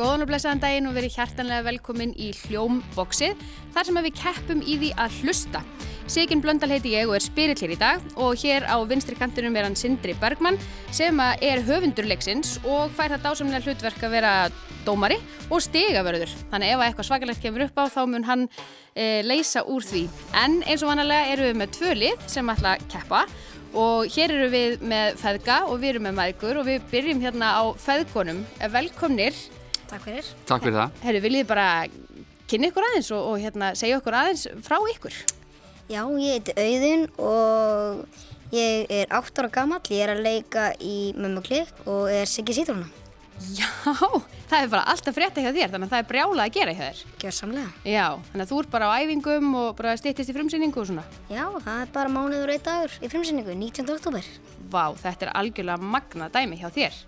Góðan og blessaðan daginn og verið hjartanlega velkomin í Hljómboxið, þar sem að við keppum í því að hlusta. Sigin Blöndal heiti ég og er spyrill hér í dag og hér á vinstri kantinum er hann Sindri Bergmann sem að er höfundur leiksins og fær það dásamlega hlutverk að vera dómari og stigavörður. Þannig að ef að eitthvað svakalegt kemur upp á þá mun hann e, leysa úr því. En eins og vanalega erum við með tvö lið sem ætla að keppa og hér erum við með feðga og við erum með maðgur og við byrjum hérna á feðgonum. Velkomnir. Takk fyrir. Takk fyrir það. Herru, viljið þið bara kynna ykkur aðeins og, og hérna, segja okkur aðeins frá ykkur? Já, ég heiti Auðun og ég er 8 ára gammal. Ég er að leika í Mömmu Klipp og er Siggi Sítróna. Já, það er bara alltaf frétta hjá þér, þannig að það er brjálað að gera hjá þér. Gjör samlega. Já, þannig að þú ert bara á æfingum og bara stýttist í frumsýningu og svona. Já, það er bara mánuður og einn dagur í frumsynningu, 19. oktober. Vá, þetta er algjörlega magna dæmi hjá þér.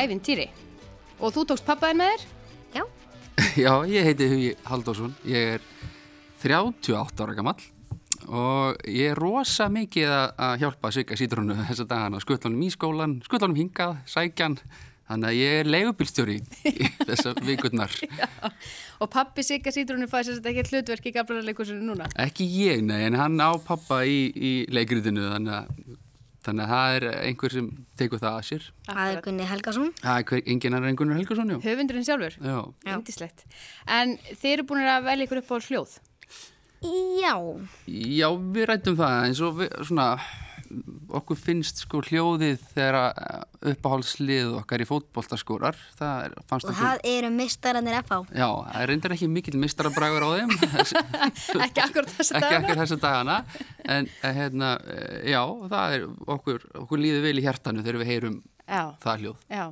Ævintýri. Og þú tókst pappaðin með þér? Já. Já, ég heiti Hugi Halldórsson, ég er 38 ára gamall og ég er rosa mikið að- að hjálpa Sigga Sítrónu þessa dagana, skutlanum í skólan, skutlanum hingað, sækjan, þannig að ég er leigubílstjóri í þessar vikurnar. Og pappi Sigga Sýtrúnur fæði sér ekki hlutverk í gaflarleikusinu núna. Ekki ég, nei, en hann á pappa í, í leikritinu, þannig að, þannig að það er einhver sem tekur það að sér. Það er Gunni Helgason. Það er hver, enginn annar en Gunnar Helgason, já. Höfundurinn sjálfur? Já, Já. Indislegt. En þið eru búin að velja ykkur upp á hljóð. Já. Já, við rættum það eins og við, svona, okkur finnst sko hljóðið þegar að eh, uppáhaldslið okkar í fótboltaskórar, það er, fannst Og okkur... það eru mistaranir FH. Já, það er reyndar ekki mikill mistarabrægur á þeim, þessi- ekki akkurat þess að ekki ekki þessa dagana, en eh, hérna, eh, já, það er okkur, okkur líður vel í hjartanu þegar við heyrum Já, það hljóð. já.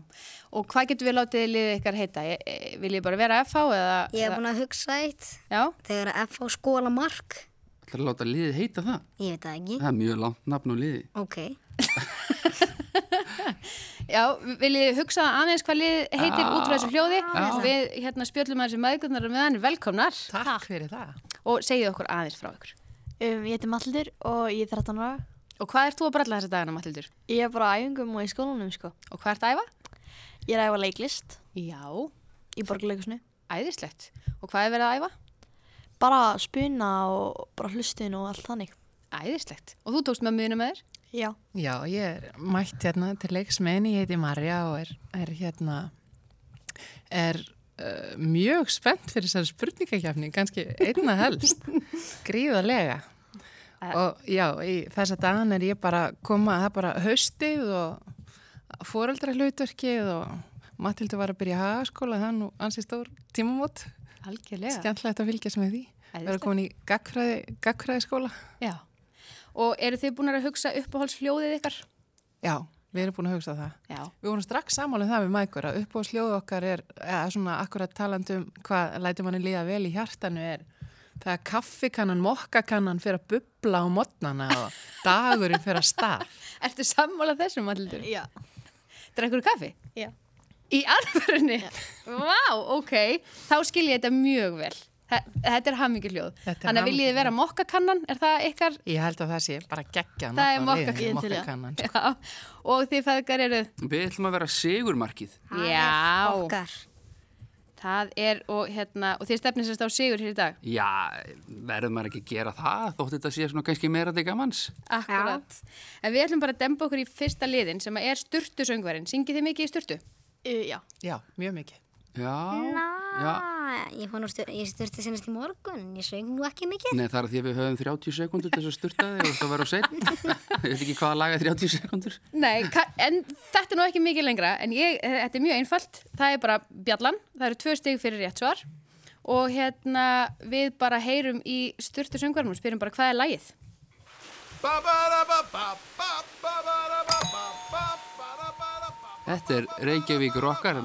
Og hvað getur við látið liðið ykkar heita? E- e- Viljið þið bara vera FH eða... Ég hef eða- búin að hugsa eitt Já, þegar að FH skóla mark. Það er að láta liðið heita það, Ég veit það ekki. það er mjög langt nafn og liði. Ok. já, viljið þið hugsa aðeins hvað lið heitir Já. út frá þessu hljóði og við hérna spjöllum aðeins um aðgjörnar og meðan velkomnar Takk fyrir það. og segið okkur aðeins frá ykkur. Um, ég heiti Mattildur og ég er 13 ára. Og hvað ert þú að bralla þessa dagana, Matildur? Ég er bara á æfingum og í skólanum, sko. Og hvað ert að æfa? Ég er að æfa leiklist Já, í borgarleikusinu. æðislegt. Og hvað er verið að æfa? Bara spuna og bara hlustun og allt þannig. Æðislegt. Og þú tókst mömmuðinu með þér? Já. Já, ég er mætt hérna til leiksmeðin, ég heiti Marja og er, er hérna, er uh, mjög spennt fyrir þessari spurningakjafni, kannski einna helst, gríðarlega. Og já, í þessa dagan er ég bara að koma, það er bara haustið og fóröldra hlutverkið og Matildur var að byrja í hagaskóla, það er nú ansi stór tímamót, Algjörlega. skemmtilegt að fylgjast með því. Við Æðislegt. erum komin í gagfræði, gagfræði skóla. Já. Og eru þið búin að hugsa uppáhaldshljóðið ykkar? Já, við erum búin að hugsa það. Já. Við vorum strax samálið það við mækur að uppbóðsljóðu okkar er, eða svona akkurat talandi um hvað læti manni líða vel í hjartanu er það að kaffikannan, mokkakannan fyrir að bubla á modnana og dagurinn fyrir að stað. Ertu sammála þessu, Matildur? Já. Drekkur kaffi? Já. Í alvörunni? Vá, ok. Þá skil ég þetta mjög vel. Þa- Þetta er hamminguljóð. Þetta er Þannig að viljið þið vera mokkakannan, er það ykkar? Ég held að það sé bara geggja Það er mokkakann. mokkakannan. Já. Og þið feðgar eru? Við ætlum að vera sigurmarkið. Það er Já. Okkar. Það er, og hérna, og þið stefnir sérst á sigur hér í dag. Já, verður maður ekki að gera það, þótt þetta sé svona kannski meira til gamans. Akkurat. En við ætlum bara að dempa okkur í fyrsta liðin sem að er sturtu söngvarinn. Syngið þið mikið í sturtu? Uh, já. sko. Já, mjög mikið. Já, já. Næ, ég, fór nú stu- ég styrti senast í morgun. Ég söng nú ekki mikið. Nei, það er því að við höfum 30 sekundur til þess að styrta þig og það verður á setn. ég veit ekki hvað að laga 30 sekundur. Nei, ka- en þetta er nú ekki mikið lengra en ég, eh, þetta er mjög einfalt það er bara bjallan, það eru tvö stig fyrir rétt svar og hérna við bara heyrum í styrtu söngvarum og spyrum bara hvað er lagið Þetta er Reykjavík Rockar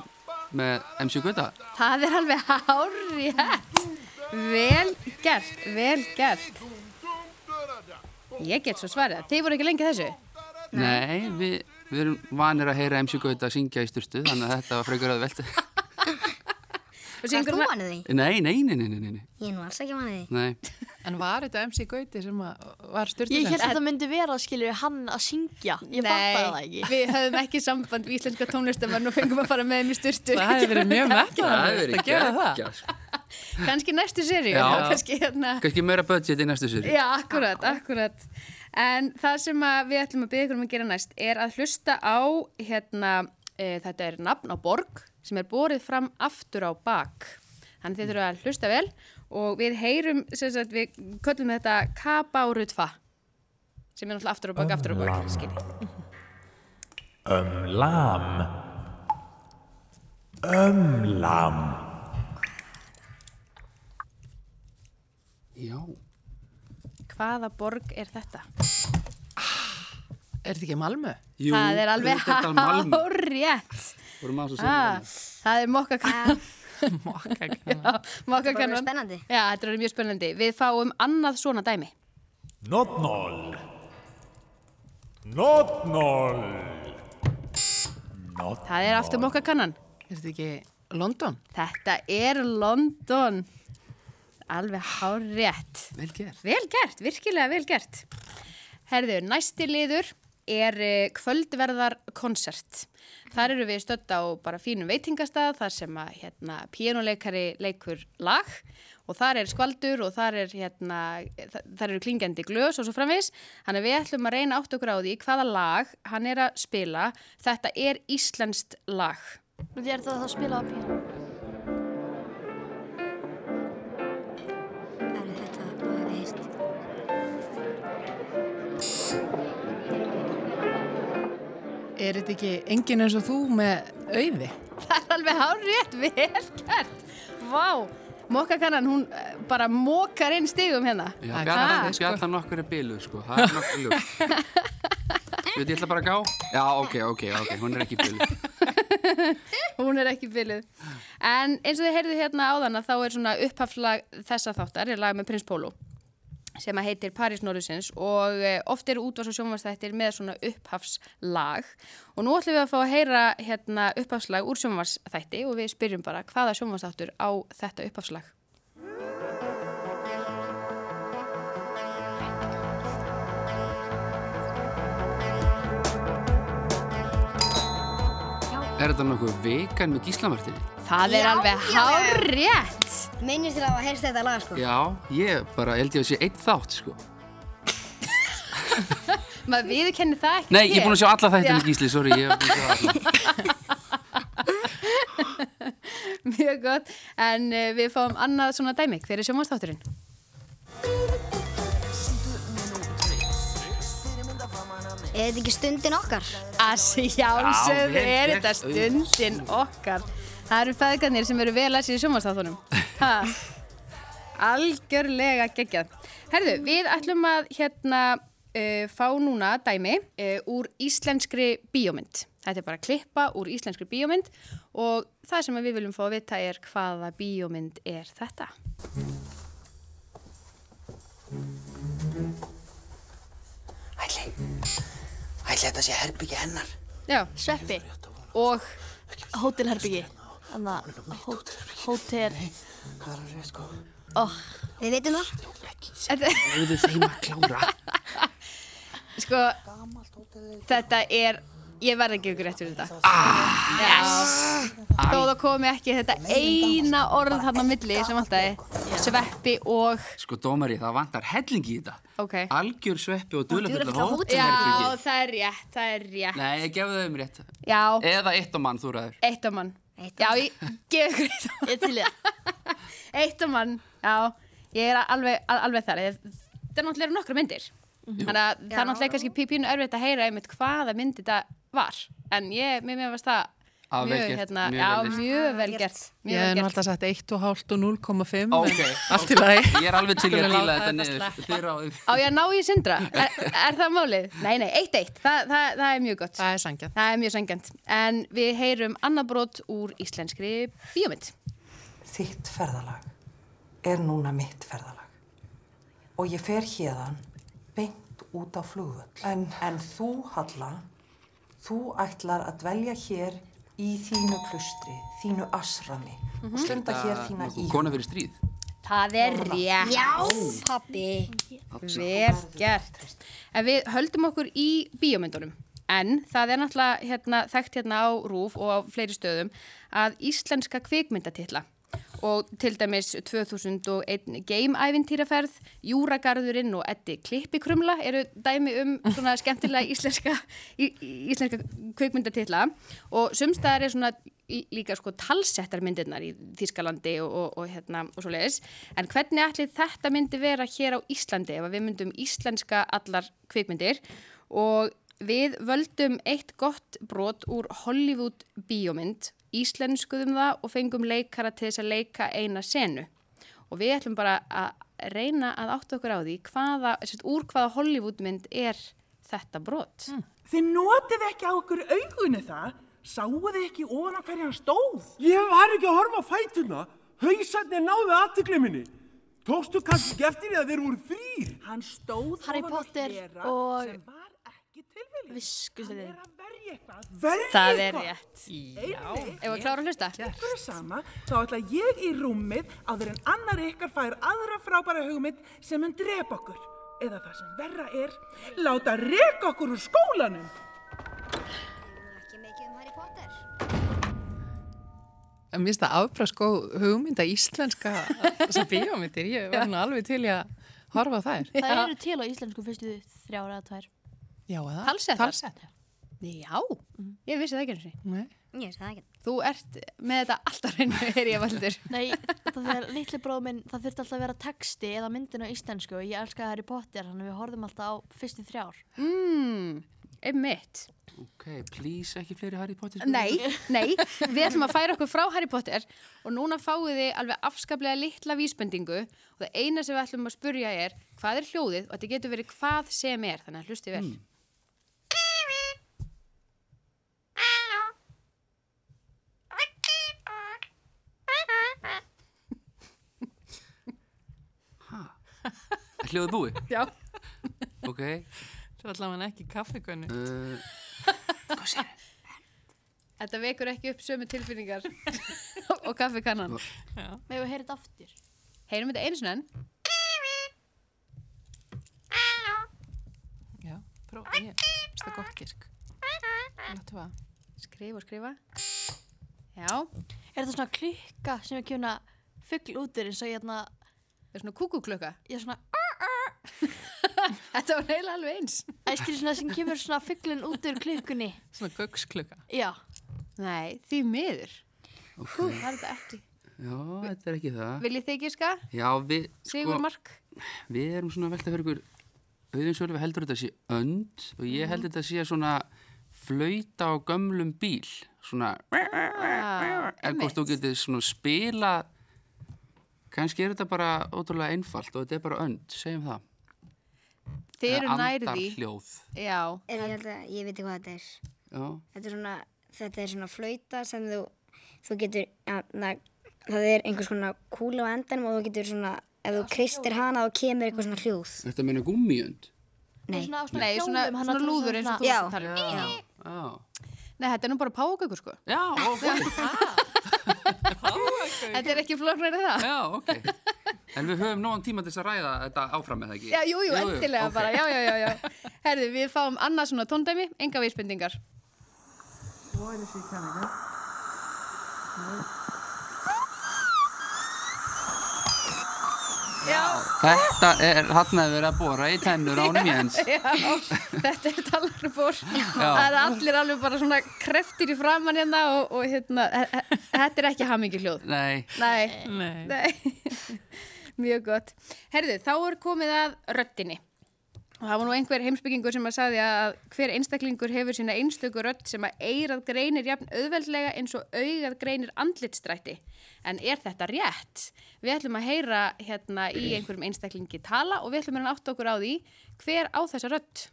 með MC Guða. það er alveg hárrétt vel gert, vel gert ég get svo svarið þið voru ekki lengi að þessu Nei, við, við erum vanir að heyra MC Guða syngja í styrtu, þannig að þetta var frekar að velta. Hvað Hvað er þú vanið því? Nei, nei, nei, nei, nei, nei, nei. Ég er nú alls ekki vanið því. nei. En var þetta MC Gauti sem að Ég var held styrtið? að þetta myndi vera, skilur, hann að syngja. Ég fattaði það ekki. við höfum ekki samband við íslenska tónlistamann og fengum að fara með þeim í styrtu. Það hefði verið mjög Það metnaðarfullt er að gera það. ekki sko. Kanski næstu seri, Já. kannski hérna. Kannski meira budget í næstu séri Já, akkurat, akkurat. En það sem að við ætlum að byggja ykkur um að gera næst er að hlusta á, hérna, e, þetta er nafn á borg sem er borið fram aftur á bak. Þannig þið þurfum að hlusta vel og við heyrum, sem sagt, við köllum þetta kabárutfa sem er náttúrulega aftur á bak, aftur á Ah. bak, skilji. Lam. Ömlam. Já, Hvaða borg er þetta? Er þetta ekki Malmö? Jú, það er alveg auðvitað er Malmö. hárétt. Vorum að þessu Ah, saman. það er mokkakanna. Mokkakanna. Það er bara Mokkakannan. spennandi. Já, þetta er mjög spennandi. Við fáum annað svona dæmi. Notnol. Notnol. Not Það er aftur mokkakannan. Er þetta ekki London? Þetta er London. Alveg hárétt. Vel gert Vel gert, virkilega vel gert. Herðu, næsti liður er eh, kvöldverðarkonsert. Þar eru við stödd á bara fínum veitingastað, þar sem að hérna, píanuleikari leikur lag og þar er skvaldur og þar, er, hérna, þa- þar eru klingjandi glös og svo framvegis. Þannig að við ætlum að reyna átt okkur á því hvaða lag hann er að spila. Þetta er íslenskt lag. Nú er það að spila á píano. Það er þetta bara veist. Er þetta ekki enginn eins og þú með auði? Það er alveg hárétt, vel gert. Vá, mokkakannan, hún eh, bara mokkar inn stigum hérna. Já, Það er Bjarni, galið, sko. Bjarni nokkur er bíluð, sko. Það er nokkur ljóð. Þú veit, ég ætla bara að gá. Já, ok, ok, ok, hún er ekki bíluð. Hún er ekki bylið. En eins og þið heyrðu hérna áðan að þá er svona upphaflag þessa þáttar, er lag með Prins Pólo sem að heitir Paris Norrisins og eh, oft eru útvars og sjónvarsþættir með svona upphafslag og nú ætlum við að fá að heyra hérna, upphafslag úr sjónvarsþætti og við spyrjum bara hvaða sjónvarsþáttur á þetta upphafslag. Er þetta nokkuð vegan með gíslamartinni? Það er Já, alveg já, já. hárétt! Minnist þér á að heyrst þetta lag, sko? Já, ég bara held ég að sé eitt þátt, sko. Maður viðurkenni það ekki Nei, ég er búin að sjá alla þættina Já. með gísli, sorry, ég er búin að sjá alla. Mjög gott, en uh, við fáum annað svona dæmi. Hver er sjómanstátturinn? Er þetta ekki stundin okkar? Asi, sjálfsögðu vel er gert, þetta stundin okkar. Það eru feðgarnir sem eru vel að sér í sjómanstáttunum. Algjörlega geggjað. Herðu, við ætlum að hérna uh, fá núna dæmi uh, úr íslenskri bíómynd. Þetta er bara klippa úr íslenskri bíómynd og það sem við viljum fá að vita er hvaða bíómynd er þetta. Ætli, ætli þetta sé herbyggja hennar. Já, Sveppi, og hótelherbyggi. Þannig að hótel, Það er alveg rétt sko. Við veitum það. Þetta- Auðu þeim að klára. Sko, þetta er, ég verð ekki ykkur rétt fyrir þetta. Ah, yes! Þó það komi ekki þetta eina orð þarna á milli sem alltaf sveppi og, Sko, dómari, það vantar helling í þetta. ok. Algjör sveppi og dularfulla dulafullar Já, hótelherbergi. það er rétt, það er rétt. Nei, ég gefði þeim rétt. Já, Eða eitt á mann, þú ræður. eitt á mann. Eitt á Já, ég gef ykkur eitt á mann. ég til ég. Eitt á mann, já. Ég er alveg, al- alveg þar. Ég- Þetta er náttúrulega nokkra myndir. Mhm. Þannig að það er náttúrulega kannski pípínu erfitt að heyra einmitt hvaða mynd þetta var. En ég, mér meðast það Að vel mjög, gert, hérna, mjög já, vel lýst. mjög vel gert. Ég Mjög hef vel nú gert. alltaf sagt 1,5 og 0,5. Ok, en Allt í lagi. Ég er alveg til í að Skulum díla láta þetta þetta niður. sleppa. Þið ráðið. Á ég að ná í sindra? Er, er það málið? Nei, nei, eitt eitt. Það, það, það er mjög gott. Það er sangjað. Það er mjög sengjant. En við heyrum annabrót úr íslenskri bíómynd. Þitt ferðalag er núna mitt ferðalag. Og ég fer hérðan beint út á flugvöll. En, en þú, Halla, þú ætlar að dvelja hér í þínu klustri, þínu asrami og stunda hér þína í. Kona fyrir stríð. Það er rétt. Pappi. Vel gert. En við höldum okkur í bíómyndunum. En það er náttúrulega hérna, þekkt hérna á RÚF og á fleiri stöðum að íslenska kvikmyndatitla og til dæmis 2001 game-ævintýraferð, Júragarðurinn og Eddi Klippikrumla eru dæmi um svona skemmtilega íslenska, í, í- íslenska kvikmyndatitla og sumstaðar er svona í- líka sko talsettarmyndirnar í Þískalandi og, og, og, hérna, og svo leiðis. En hvernig ætli þetta myndi vera hér á Íslandi ef að við myndum íslenska allar kvikmyndir og við völdum eitt gott brot úr Hollywood bíómynd, íslenskuðum það og fengum leikara til þess að leika eina senu. Og við ætlum bara að reyna að átta okkur á því hvaða, sérst, úr hvaða Hollywoodmynd er þetta brot. Þið notið ekki á okkur augunni það, sáu þið ekki ofan á hverja hann stóð. Ég var ekki að horfa á er fætuna. Hausarnir náðu aðtökli minni. Tókstu kannski ekki eftir því að þeir voru þrýr? Hann stóð Harry ofan á Potter hlera og- sem var ekki tilviljun. Viskustuðinn. Hann er að verja eitthvað. Verði Það er rétt. Einmitt. Ef að klára að hlusta? Ykkur er sama, þá ætla ég í rúmið áður en annar ykkar fær aðra frábæra hugmynd sem mun drepa okkur. Eða það sem verra er, láta reka okkur úr skólanum. Ekki mikið um Harry Potter. Mér finnst það afbrast góð hugmynda íslenska sem bíómyndir. Ég var nú alveg til í að horfa á þær. Það eru til á íslensku fyrstu þrjára eða tvær. Já, eða? Talsettar? Talsettar. Já, ég vissi það ekki eins og Nei. Ég veist það ekki. Þú ert með þetta alltaf reynu, er ég valdur. Nei, það er litli bróð minn, það þurfti alltaf að vera texti eða myndin á íslensku og ég elskaði Harry Potter, þannig að við horfðum alltaf á fyrstu þrjár. Mm, einmitt. Ok, please, ekki fleiri Harry Potter. Nei, nei, við ætlum að færa okkur frá Harry Potter og núna fáið þið alveg afskaplega litla vísbendingu og það eina sem við ætlum að spurja er hvað er hljóðið og þetta getur verið hvað sem er, þannig að hlusti vel. Hljóðu búi. Já. Ok. Það var allavega ekki kaffegönnu. Uh, Þetta vekur ekki upp sömu tilfinningar og kaffekannan. Megum við heyrið aftur. Heyrum þetta einu sinna enn? Já, prófa. Ég finnst það gott kirk. Láttu að. Skrifa og skrifa. Já, Er þetta svona klukka sem er kjöna fuggl út úr eins og ég hérna, það er svona kúkuklöka. ég er svona, Þetta var neila alveg eins. æskil svona sem kemur svona fugglinn út úr klukkunni. Svona gögsklukka. Já, Nei, því miður. Hú, það er þetta ekki. já, þetta er ekki það. Viljið þið giska? Já, við, sko, Sigur Mark? við erum svona að velta fyrir ykkur. Auðvitað svolítið heldur þetta sé önd og ég Mhm. held þetta sé svona flauta á gömlum bíl. Svona, Ah, er hvort þú getur svona spila, kannski er þetta bara ótrúlega einfalt og þetta er bara önd, segjum það. Þið eru nærið nærði. því. Andarhljóð. Já, Er, ég, held að, ég veit ekki hvað þetta er. Já, Þetta er svona, þetta er svona flauta sem þú, þú getur, ja, na, það er einhvers konar kúla á endanum og þú getur svona, ef þú kristir hana þá kemur eitthvað svona hljóð. þetta meina gummiönd. Nei. svona á svona Nei, svona, hjólum, hann svona á lúður eins og þú Já. varst að tala um. Já. Já. Nei, þetta er nú bara págökur sko. Já, ok. Þetta er ekki flóknar en það. Já, ok. En við höfum nógan tíma til þess að ræða þetta áfram með það ekki? Já, jú, jú, endilega ok. bara, já, já, já, já. Herðu, við fáum annað svona tóndæmi, enga vísbendingar. Þetta er hann að vera að bóra í tennur ánum Jens. Já, þetta er talarubor. Það er allir alveg bara svona kreftir í framann hérna og, og hérna, he- he- þetta er ekki hamingi hljóð. Nei, Nei, Nei. nei, mjög gott. Herðu, þá er komið að röttinni. Og það var nú einhver heimsbyggingur sem að sagði að hver einstaklingur hefur sína einstöku rödd sem að eirað greinir jafn auðveldlega eins og augað greinir andlitstrætti. En er þetta rétt? Við ætlum að heyra hérna í einhverjum einstaklingi tala og við ætlum að átta okkur á því hver á þessa rödd.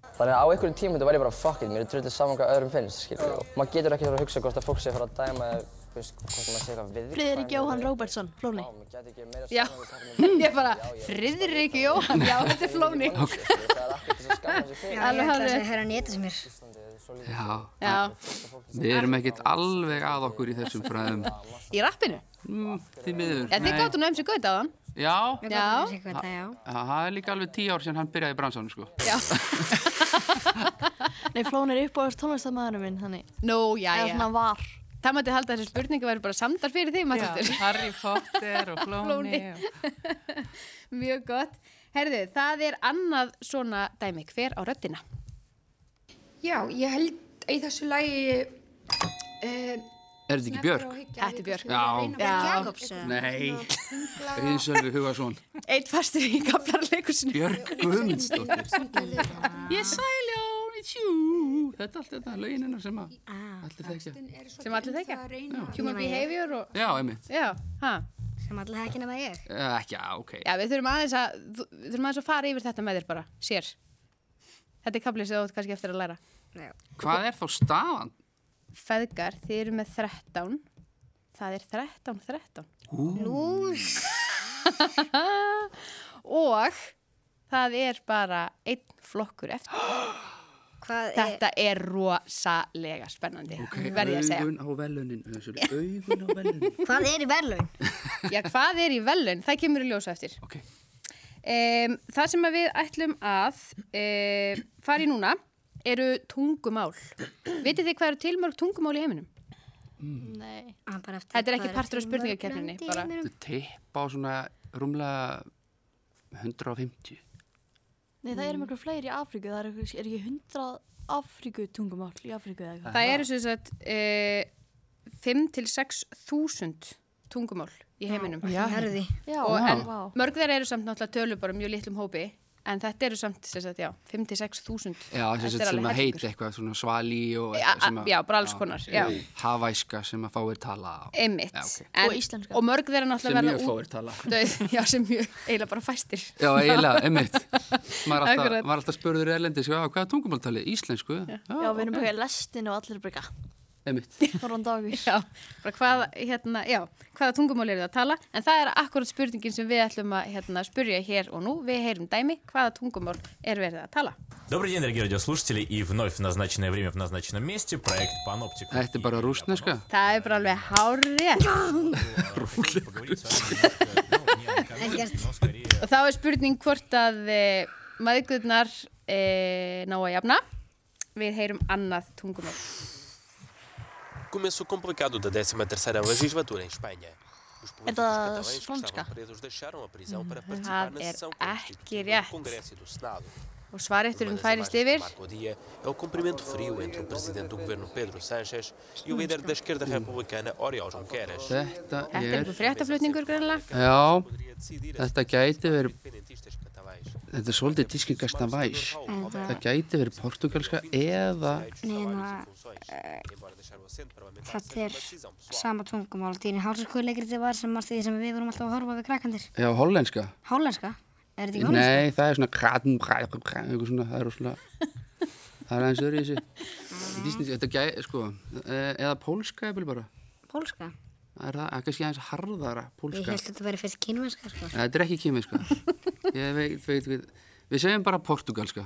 Þannig að á einhverjum tímum þetta var ég bara fuck it, mér er trullið saman hvað öðrum finnst, skilur við. Og maður getur ekki þarf að hugsa hvort að fólk sé að fara að dæma eða Þú veist hvort maður sé eitthvað viðkvæm Friðrik Jóhann Róbertsson, Flóni Já, ég bara, Friðrik Jóhann, já, þetta er flóni. Alveg Alveg hafði. Ég ætlaði hafði. að höra nýta sem er. Já, Já, við erum ekkert alveg að okkur í þessum fræðum. í rappinu. Mm, því miður. Já, þið Nei. gáttu nú emsi gauta á hann. Já, Við gátum MC Gauta, já. það það er líka alveg tíu ár sem hann byrjaði í bransanum, sko. Nei, Flóni er uppáðast tónlistamæðurinn minn, þannig Nó, já, Eða já. svona var Það mætti halda að þessi spurningi væri bara samdar fyrir þig, Matildur. Harry Potter og Flóni. Flóni. og- Mjög gott. Herðu, það er annað svona dæmi hver á röddina. Já, ég held að í þessu lagi uh, Er þetta ekki Björk? Þetta er Björk. Já. Jakobs, eða? Nei, Ríðsölvi Hugason. Eitt fastur í gaflarleikusinu. Björk Guðmundsdóttir. Ég sælja. Þetta er allt þetta, lögin hennar sem að Ah, allir þekkja. Sem allir þekkja. Human behavior og... Já, einmitt. Já, hæ? Sem allir þekkja nema ég. Eh, Ekki, já, ok. Já, við þurfum aðeins að, þú- við þurfum aðeins að fara yfir þetta með þér bara, sér. Þetta er kaplið sem þú átt kannski eftir að læra. Hvað er þá staðan? Feðgar, þið eru með 13. Það er 13, 13. Ú, Og það er bara einn flokkur eftir. Hvað er? Þetta er rosalega spennandi, verði ég að segja. augun á velunin. Augun á velunin. Hvað er í verðlaun? Já, hvað er í velun? Það kemur í ljósa eftir. Ok. Um, það sem að við ætlum að um, fara í núna eru tungumál. Vitið þið hvað eru tilmörg tungumál í heiminum? Nei Þetta er ekki partur af spurningakeppninni, bara. Þetta tipp á svona rúmlega 150. Nei, það eru Mm. mjög fleiri í Afríku, það eru er ekki hundrað Afríku tungumál í Afríku eða eitthvað. Það eru sem sagt uh, 5 til 6 þúsund tungumál í heiminum. Já, herði. Já, Og, en vá. mörg þeirra eru samt náttúrulega tölur bara mjög litlum hópi, en þetta eru samt sem sagt, já, 5 til 6 þúsund. Já, Þetta þess að er sem alveg að hellingur. heita eitthvað svona svalí og Já, eitthvað sem að... já, bara alls konar, já. Havæska sem að fáir tala á. Einmitt. Já, ok. en, Og íslenska. Og mörg þeirra Sem náttúrulega mjög verða fáir tala. útdauð. Já, sem mjög, eiginlega bara fæstir. Já, eiginlega, einmitt. Maður er alltaf, Akkurat. maður er alltaf spurður erlendis, já, hvað er tungumáltalið? Íslensku? Já, Já, við erum bara í lestinu og allir er bara Einmitt. Þorran dagur. Já, bara hvað, hérna, já, hvaða tungumál eru það að tala, en það er akkurat spurningin sem við ætlum að hérna, spurja hér og nú, við heyrum dæmi, hvaða tungumál er verið að tala. Добрый день, дорогие радиослушатели, и вновь в назначенное время в назначенном месте проект Паноптика. Þetta er bara rúsneska. Það er bara alveg hárið. Ekkert. Og þá er spurning hvort að e, maðgurnar e, ná að jafna. Við heyrum annað tungumál. Começo complicado da 13ª legislatura em Espanha. Os políticos catalães das que Fronska. estavam presos deixaram a prisão para participar Það na er sessão ekki do rétt. Congresso e do Senado. Og svaretturinn færist yfir. Marco Dia é o cumprimento frio entre o presidente do governo Pedro Sánchez e o líder da esquerda republicana Oriol Junqueras. Þetta Þetta er er... einhver fréttaflutningur greinlega. Já, assim þetta gæti verið... Þetta er svolítið tískingasta væs. Mhm. Það gæti verið portugalska eða... Neina, eh, þetta er sama tungumál. Dýrin hálsaskóðleikriti var sem að því sem við vorum alltaf að horfa við krakkandir. Já, hollenska. Hállenska? Er þetta ekki hállenska? Nei, það er svona kratum, kratum, kratum, eitthvað svona, það er rosalega, það er aðeins öðru í þessi. Ah. Þetta gæ, sko, e- eða pólska eða bara, Pólska? það er það, það er kannski aðeins harðara Ég pólska. held að þetta væri fyrst kínverska, sko. Þetta er ekki kýmiska, ég veit, veit, veit, við segjum bara portugalska.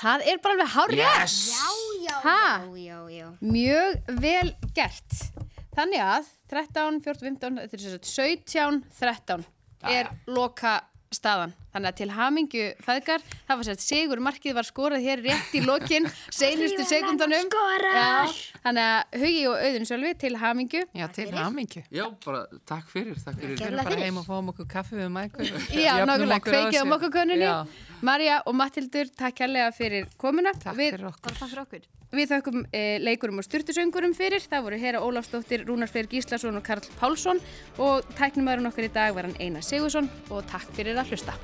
Það er bara alveg hárið. Já, já, Ha? já, já, já. Mjög vel gert. Þannig að 13, 14, 15, þetta er sem sagt 17, 13 er loka staðan. Þannig að til hamingju feðgar, það var sérst sigur, markið var skorað hér rétt í lokin, seinustu sekundunum. Skorar! Þannig að hugi og auðun sjálfi til hamingju. Já, til hamingju. Já, bara takk fyrir, takk fyrir. Við erum bara heim og fáum okkur kaffi við mækur. Já, nákvæmlega, kveikið á mokkakönnunni. Já, Marja og Mattildur, takk hérlega fyrir komuna. Takk fyrir okkur. Bara takk fyrir okkur. Við þökkum e, leikurum og styrtusöngurum fyrir. Það voru Hera Ólafsdóttir, Rúnar Freyr Gíslason og Karl Pálsson og tæknumæðurinn okkar í dag var hann Einar Sigursson og takk fyrir að hlusta.